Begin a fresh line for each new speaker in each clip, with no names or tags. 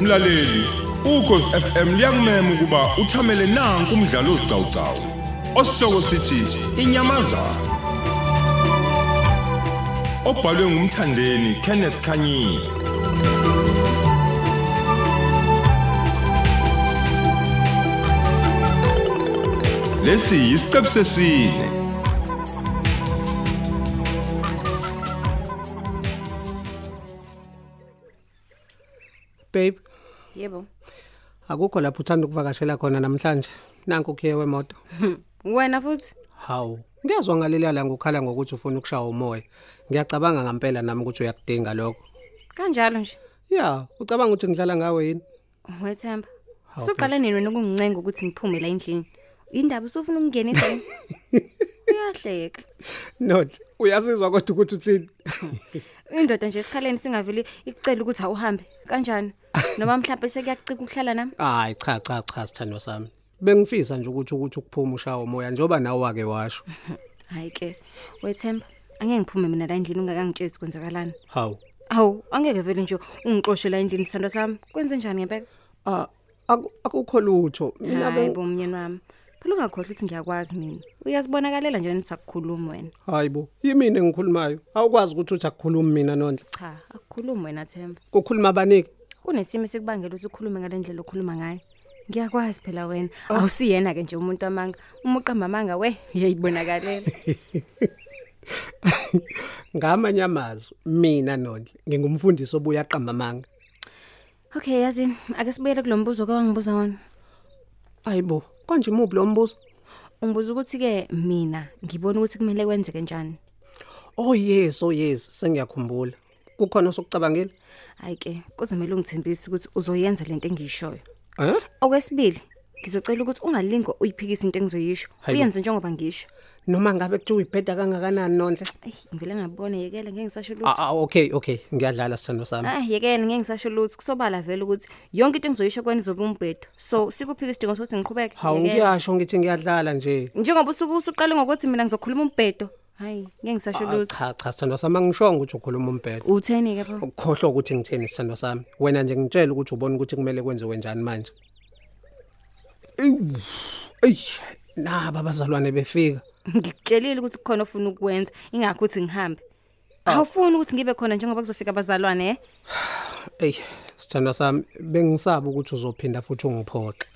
mlaleli ukhosi FM liyakumema ukuba uthamele nanku umdlalo ozicawucawu osihloko sithi inyamazana obhalwe ngumthandeni Kenneth Khanyile lesi yisiqebu sesine
babe
Yebo.
akukho lapho uthanda ukuvakashela khona namhlanje nanku ukhiye wemoto
Wena futhi?
hawu ngiyazwa ngalelala ngokhala ngokuthi ufuna ukushaya umoya ngiyacabanga ngempela nami ukuthi uyakudinga lokho
Kanjalo nje.
ya ucabanga ukuthi ngidlala ngawe yini
Wethemba.
Hawu,
Usuqale nini wena ukuncenga ukuthi ngiphume la endlini? Indaba usufuna ukungenisa. yini? Uyahleka.
not uyasizwa kodwa ukuthi uthini
Indoda nje esikhaleni singavile ikucela ukuthi awuhambe. Kanjani? Noma mhlawumbe sekuyacika ukuhlala nami?
hayi cha cha cha sithandwa sami bengifisa nje ukuthi ukuthi ukuphuma ushaya umoya njengoba nawe wake washo
Hayi ke. Wethemba. Angeke ngiphume mina la endlini ungakangitshezi kwenzakalani.
hawu
Awu, angeke vele nje ungixoshe la endlini sithando sami. Kwenze njani ngempela?
ah aku- akukho lutho mina
Hayi
bengi-
bo mnyeni wami. Phela ungakhohlwa ukuthi ngiyakwazi mina. Uyazibonakalela nje ukuthi akukhuluma wena.
hayi bo yimini engikhulumayo awukwazi ukuthi uthi akukhulumi mina nondla
cha akukhulumi wena themba
kukhuluma abaniki
kunesimo esikubangela ukuthi ukhulume ngale ndlela okhuluma ngayo ngiyakwazi phela wena awusiyena-ke nje umuntu amanga uma uqamba amanga we uyayibonakalela
ngamanye amazwi mina nondle ngingumfundisi obuya aqamba amanga
okay yazini ake sibuyele kulo mbuzo ke wangibuza wona
ayibo kanje imuphi lo mbuzo
ungibuza ukuthi-ke mina ngibona ukuthi kumele kwenzeke njani
oh yes oh yes sengiyakhumbula kukhona sokucabangile
hhayi ke kuzomele ungithembise ukuthi uzoyenza le nto engiyishoyo
eh
okwesibili ngizocela ukuthi ungalingo uyiphikise into engizoyisho
Hayibo.
uyenze njengoba ngisho
noma ngabe kuthiwa ibheda kangakanani nondle
eyi ngivele ngabona yekela ngeke ngisasho lutho
ah ah, okay okay ngiyadlala sithando sami
Ah, yekela ngeke ngisasho lutho kusobala vele ukuthi yonke into engizoyisho kweni zobe umbhedo so sikuphika isidingo sokuthi ngiqhubeke
hawu
Yekela.
ngiyasho ngithi ngiyadlala nje
njengoba usuke usuqale ngokuthi mina ngizokhuluma umbhedo hayi ngeke ngisasho
Ah,
lutho
cha cha sithando sami angishongo ukuthi ukhuluma umbhedo
utheni-ke pho
ukukhohlwa ukuthi ngitheni sithando sami wena nje ngitshela ukuthi ubone ukuthi kumele kwenziwe njani manje Ewu, eish naba abazalwane befika
ngikutshelile ukuthi kukhona ofuna ukukwenza ingakho ukuthi ngihambe
Ah.
awufuni ukuthi ngibe khona njengoba kuzofika abazalwane eh?
Ey, sithando sami, bengisaba ukuthi uzophinda futhi ungiphoxe.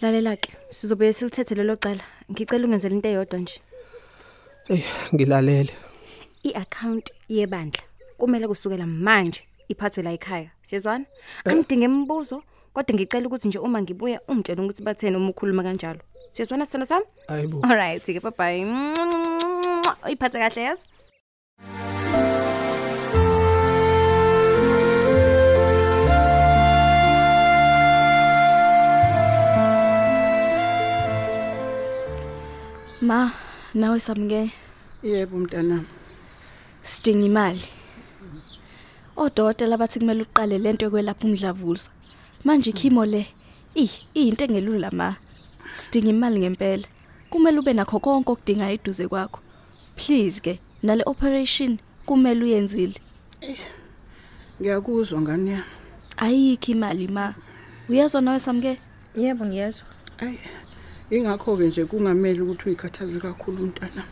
lalela-ke sizobuye silithethe lelo cala ngicela ungenzela into eyodwa nje
Ey, ngilalele.
i-akhawunti yebandla kumele kusukela manje iphathwe la ekhaya siyezwana angidinge imibuzo kodwa ngicela ukuthi nje uma ngibuya ungitshela ukuthi batheni uma ukhuluma kanjalo siyezwana sithanda sami
Hayibo.
allright-ke babayi uyiphathe kahle yazi
Ma, nawe samke
Yebo mntanami.
sidinga imali. Odokotela bathi kumele uqale lento yokwelapha umdlavuza. Manje ikhimo le, ih, iyinto engelula ma. Sidinga imali ngempela. Kumele ube nakho konke okudinga eduze kwakho. Please ke, nale operation kumele uyenzile.
Ngiyakuzwa ngani yami.
Ayikho imali ma. Uyezwa nawe samke?
Yebo ngiyezwa.
Ayi. Ingakho ke nje kungameli ukuthi uyikhathaze kakhulu mntanami.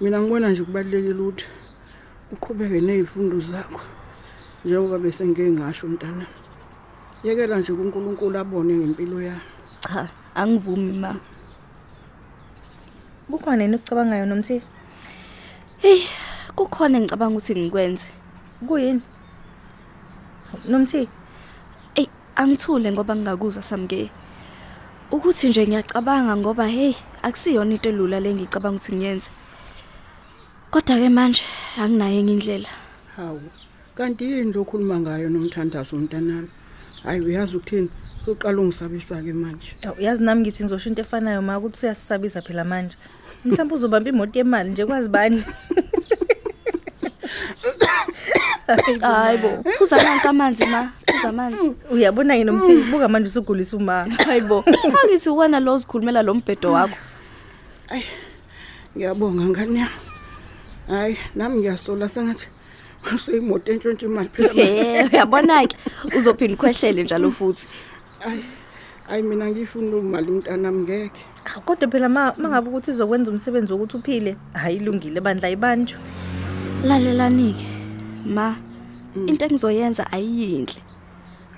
Mina ngibona nje kubalekile ukuthi uqhubeke nezifundo zakho. Njengoba bese ngeke ngasho mntanami. Yekela nje kuNkulunkulu abone ngempilo yami.
Cha, angivumi ma.
Bukhona yini ucabangayo nomthi?
Hey, kukhona engicabanga ukuthi ngikwenze.
Kuyini? Nomthi,
Ey, angithule ngoba ngingakuzwa samke. Ukuthi nje ngiyacabanga ngoba hey, akusiyona into elula lengicabanga ukuthi ngiyenze. Kodwa ke manje anginayo enye indlela.
Hawu. Kanti yini lokhuluma ngayo nomthandazo mntanami? Hayi uyazi ukuthini? Uqala ungisabisa ke manje.
awu, uyazi nami ngithi ngizosho into efanayo ma ukuthi uyasisabisa phela manje. Mhlawumbe uzobamba imoto yemali nje kwazi bani?
Hayibo, phuza nanka amanzi ma, phuza amanzi.
Uyabona yini nomthi? Buka manje usugulisa uma.
Hayibo, angithi wena lo zikhulumela lo mbhedo wakho.
Ngiyabonga ngani yami. Hayi nami ngiyasola sengathi useyimoto entshontshe imali phela
Eh, uyabona-ke uzophinda ukhwehlele njalo futhi
hayi hayi mina ngiyifuni loo mali mntanami ngeke
Ah, kodwa phela ma ma ngabe ukuthi izokwenza umsebenzi wokuthi uphile hhayi ilungile bandla ibanjwe
lalelani-ke ma into engizoyenza ayiyinhle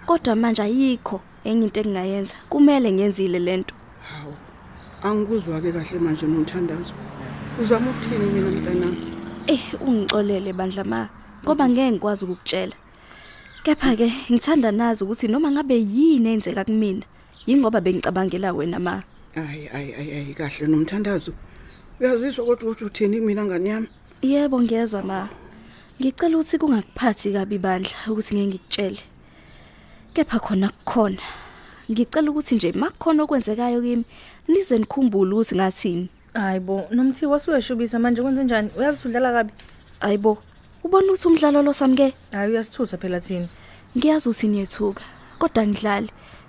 kodwa manje ayikho enye into engingayenza kumele ngiyenzile le nto
hawu angikuzwa-ke kahle manje nomthandazo uzama ukuthini mina mntanami
Eh ungicolele bandla ma ngoba ngeke ngikwazi ukukutshela. Kepha ke ngithanda nazi ukuthi noma ngabe yini enzeka kumina yingoba bengicabangela wena ma.
hayi hayi hayi hayi kahle nomthandazo uyazizwa kodwa ukuthi uthini mina ngane yami
Yebo ngiyezwa ma. Ngicela ukuthi kungakuphathi kabi bandla ukuthi ngeke ngikutshele. Kepha khona kukhona. Ngicela ukuthi nje makukhona okwenzekayo kimi nize nikhumbule ukuthi ngathini.
hhayi bo nomthiwa wasuyeshubisa manje kwenzenjani uyazisudlala kabi
Ayibo ubona ukuthi umdlalo lo samke
hhayi uyasithutha phela thina
ngiyazi ukuthi niyethuka kodwa ngidlali.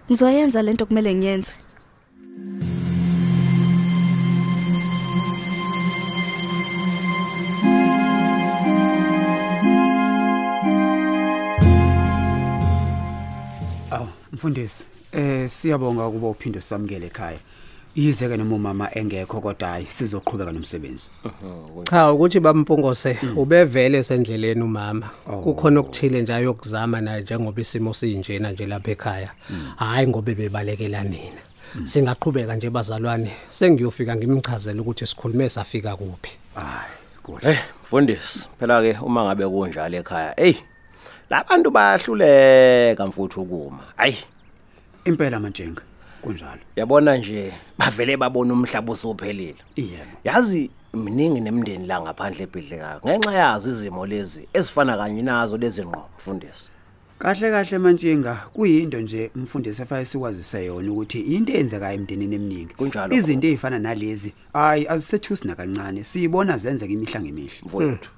Ngizoyenza lento kumele ngiyenze.
Aw, mfundisi, eh siyabonga ukuba uphinde samukele ekhaya. Yize ke noma mama engekho kodwa hayi sizoqhubeka nomsebenzi.
cha ukuthi bampungose ubevele sendleleni umama kukhona okuthile nje ayokuzama naye njengoba isimo sinjena nje lapha ekhaya hayi ngoba bebalekela nina singaqhubeka nje bazalwane sengiyofika ngimchazele ukuthi sikhulume safika kuphi
Hayi, kuhle.
Hey, Eh, mfundisi, phela ke uma ngabe kunjalo ekhaya, hey. Labantu bayahluleka mfuthu ukuma. Ayi,
Impela manjenga kunjalo.
yabona nje bavele babona umhlaba usuphelile.
Yebo.
Yazi miningi nemndeni la ngaphandle ebhidlekayo. Ngenxa yazo izimo lezi ezifana kanye nazo lezi ngqo, mfundisi.
Kahle kahle manjenga kuyinto nje mfundisi efaye sikwazise yona ukuthi into eyenzekayo emndenini eminingi.
Kunjalo.
Izinto ezifana nalezi hayi azisethusi nakancane. Siyibona zenzeka imihla ngemihla.
Mfuthu.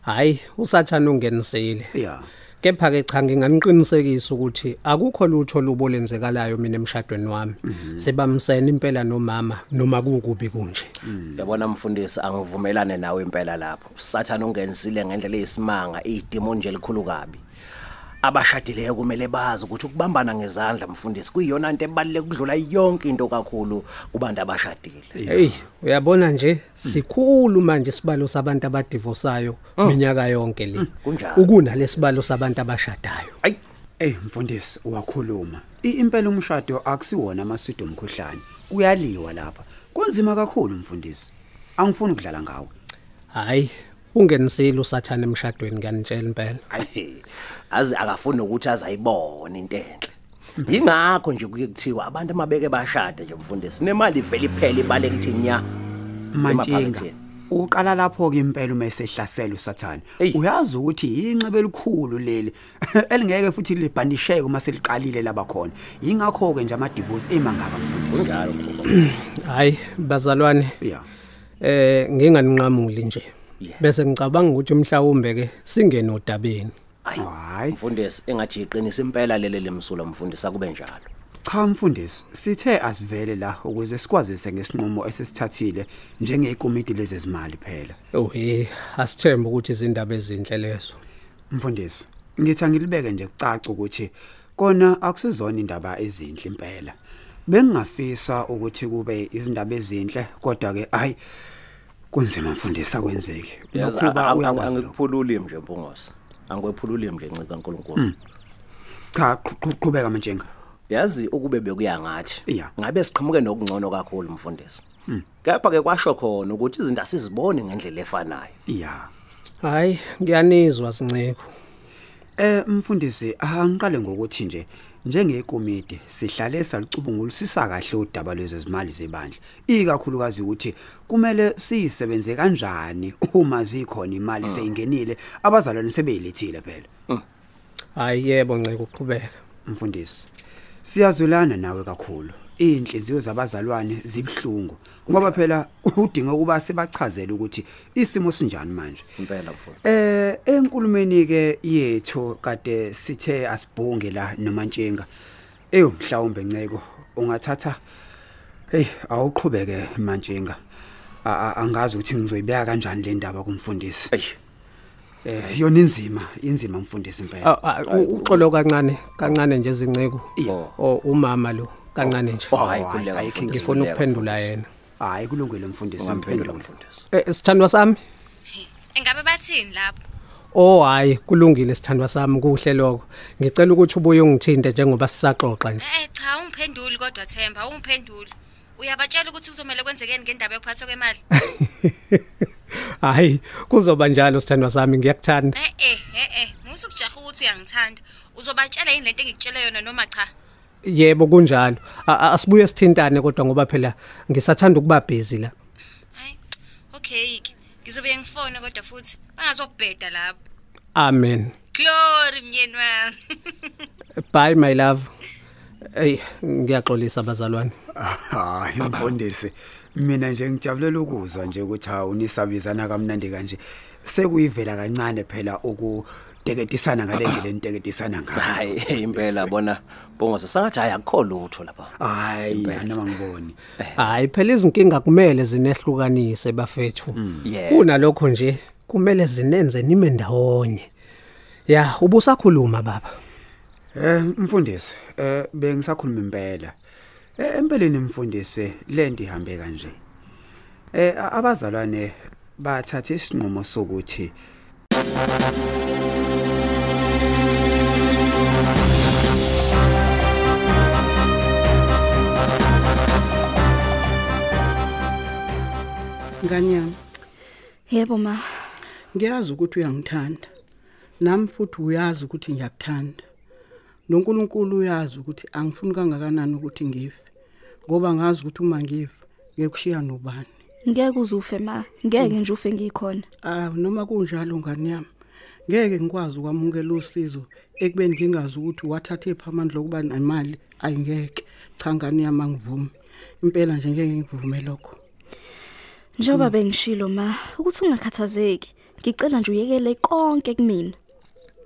hayi usathana ungenisile
Yeah.
kepha ke cha nginganiqinisekisa ukuthi akukho lutho lubolenzekalayo mina emshadweni wami
Mhm.
sibamsene impela nomama noma kukubi kunje
Yabona mfundisi angivumelane nawe impela lapho. Sathana ungenisile ngendlela eyisimanga, idemon nje likhulu kabi. Abashadileyo kumele bazi ukuthi ukubambana ngezandla mfundisi kuyiyona into ebaluleke kudlula yonke into kakhulu kubantu abashadile.
hey uyabona nje sikhulu manje isibalo sabantu abadivosayo minyaka yonke le
Oh. Mm, Kunjalo.
ukunalesibalo sabantu abashadayo
Ayi
Ey Eh, mfundisi wakhuluma. I- Impela umshado akusiwona amasido omkhuhlane. Kuyaliwa lapha. Kunzima kakhulu mfundisi. Angifuni ukudlala ngawe.
hayi ungenisile usathana emshadweni ngiyanitshela impela
Ayi, azi akafuni ukuthi azayibona into enhle yingakho nje kuye kuthiwa abantu amabeke bashade nje mfundisi nemali ivele iphele ibaleke ithi nya
Mantshinga.
Emaphaketheni.
Uqala lapho ke impela uma esehlasela uSathane.
Eyi.
Uyazi ukuthi yinxebe elikhulu leli elingeke futhi libhandisheke uma seliqalile labakhona. Yingakho ke nje ama divorce emangaba mfundisi.
kunjalo khuba
hayi bazalwane
Yeah.
eh nginganinqamuli nje
Yeah.
bese ngicabanga ukuthi mhlawumbe ke singene odabeni
ayi
Hayi.
mfundisi engathi iqinisa impela lele lemsulo mfundisi akube njalo
Cha mfundisi, sithe asivele la ukuze sikwazise ngesinqumo esisithathile njengekomiti lezezimali phela.
ohe asithembe ukuthi izindaba ezinhle lezo
Mfundisi, ngithi angilibeke nje kucaca ukuthi kona akusizona indaba ezinhle impela. Bengingafisa ukuthi kube izindaba ezinhle kodwa ke hayi kunzima mfundisi akwenzeki.
Yazi,
Lokhuba
ang-
uyakwazi. lokho.
angikuphululi mje mpongosa angikwephululi mje ncika
Mm.
nkulunkulu
Cha qhu- qhu- qhubeka manjenga.
yazi ukube bekuya ngathi
Iya. Mm.
ngabe siqhamuke nokungcono kakhulu mfundisi kepha ke kwasho khona ukuthi izinto asiziboni ngendlela efanayo
Yeah.
hayi ngiyanizwa sinceko
Eh mfundisi angiqale ngokuthi nje njengekomiti sihlale salicubungulisisa kahle udaba lwezezimali zebandla ikakhulukazi ukuthi kumele siyisebenze kanjani uma zikhona imali seyingenile abazalwane sebeyilethile phela
hayi yebo nceko uqhubeka
mfundisi siyazwelana nawe kakhulu inhliziyo zabazalwane zibhlungu ngoba phela udinga ukuba sibachazele ukuthi isimo sinjani manje
impela mfundisi
Eh enkulumeni ke yethu kade sithe asibhunge la nomantshenga. Eyo mhlawumbe nceko ungathatha hey awuqhubeke mantshenga. A- a- Angazi ukuthi ngizoyibeka kanjani le ndaba kumfundisi.
Eish.
Eh yona inzima, inzima mfundisi impela.
Ah, ah, u- uxolo kancane kancane nje izinceko
Iya.
o umama lo kancane nje
Oh, hayi khululeka
hayi,
mfundisi.
ngifuna
khululeka,
ukuphendula
mfundisi.
yena
Hayi kulungile mfundisi
Ungamphendula
impela.
mfundisi.
Eh, sithandwa sami
Engabe bathini lapho?
Oh hayi kulungile sithandwa sami kuhle lokho ngicela ukuthi ubuye ungithinte njengoba sisaxoxa nje
Eh cha, ungiphenduli kodwa Themba, ungiphenduli. Uyabatshela ukuthi kuzomela kwenzekeni ngendaba yokuphathwa kwemali?
hayi kuzoba njalo sithandwa sami ngiyakuthanda
Eh eh eh eh, musu kujaha ukuthi uyangithanda. Uzobatshela yini lento engikutshela yona noma cha?
yebo kunjalo A- a- asibuye sithintane kodwa ngoba phela ngisathanda ukuba busy la
Hayi. Okay ke. Ngizobe ngifone kodwa futhi bangazokubheda lapho.
amen
Glory mnyeni wami.
bye my love Ey ngiyaxolisa bazalwane
Hayi mfundisi. Mina nje ngijabulela ukuzwa nje ukuthi ha unisabizana kamnandi kanje. Sekuyivela kancane phela ukuteketisana ngale ndlela eniteketisana ngayo.
Hayi impela bona Bongose sangathi hayi akukho lutho lapha.
Hayi noma ngiboni.
hayi phela izinkinga kumele zinehlukanise bafethu
Yeah.
kunalokho nje kumele zinenze nime ndawonye ya ubusakhuluma baba
Eh mfundisi, eh bengisakhuluma impela. Eh empeleni mfundisi lento ihambe kanje. Eh a- abazalwane bathatha isinqumo sokuthi
ngani yami
Yebo ma.
ngiyazi ukuthi uyangithanda nami futhi uyazi ukuthi ngiyakuthanda noNkulunkulu uyazi ukuthi angifuni kangakanani ukuthi ngife ngoba ngazi ukuthi uma ngife ngekushiya nobani
Ngeke uzufe ma. Ngeke nje ufe ngikhona.
ah noma kunjalo ngani yami ngeke ngikwazi ukwamukela usizo ekubeni ngingazi ukuthi wathathe phamandla lokuba nemali ayingeke cha ngani yami angivumi impela nje ngeke ngivume lokho
Njengoba bengishilo ma, ukuthi ungakhathazeki. Ngicela nje uyekele konke kumina.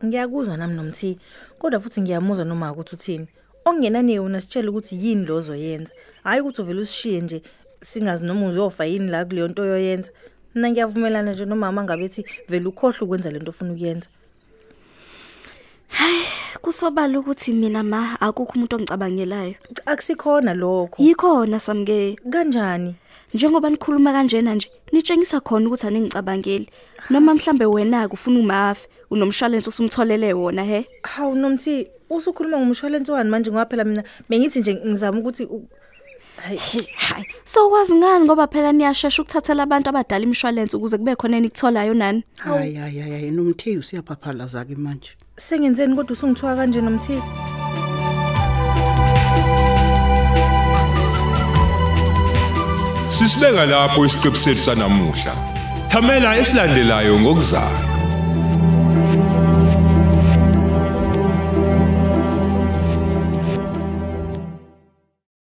ngiyakuzwa nami nomthi kodwa futhi ngiyamuzwa noma ukuthi uthini okungenaniwe wena sitshele ukuthi yini lozo yenza hhayi ukuthi uvele usishiye nje singazi noma uzofa yini la kuleyo nto yoyenza mna ngiyavumelana nje nomama ngabe ethi vele ukhohlwe ukwenza lento ofuna ukuyenza
Kusobala ukuthi mina ma akukho umuntu ongicabangelayo.
Cha, akusikhona lokho
Yikhona samke.
kanjani
Njengoba nikhuluma kanjena nje, nitshengisa khona ukuthi aningicabangeli. Noma mhlambe wena ke ufuna umafi, unomshwalense usumtholele wona he.
hawu nomthi usukhuluma ngomshwalense wani manje ngoba phela mina bengithi nje ngizama ukuthi u- hayi
Hayi, so kwazi ngani ngoba phela niyashesha ukuthathela abantu abadala imshwalense ukuze kube khona enikutholayo nani?
hayi hayi hayi nomthiyo usiyaphaphalaza ke manje
sengenzeni kodwa usungithuka kanje nomthi
Sisibeka lapho isiqebu sethu sanamuhla. Thamela esilandelayo ngokuzayo.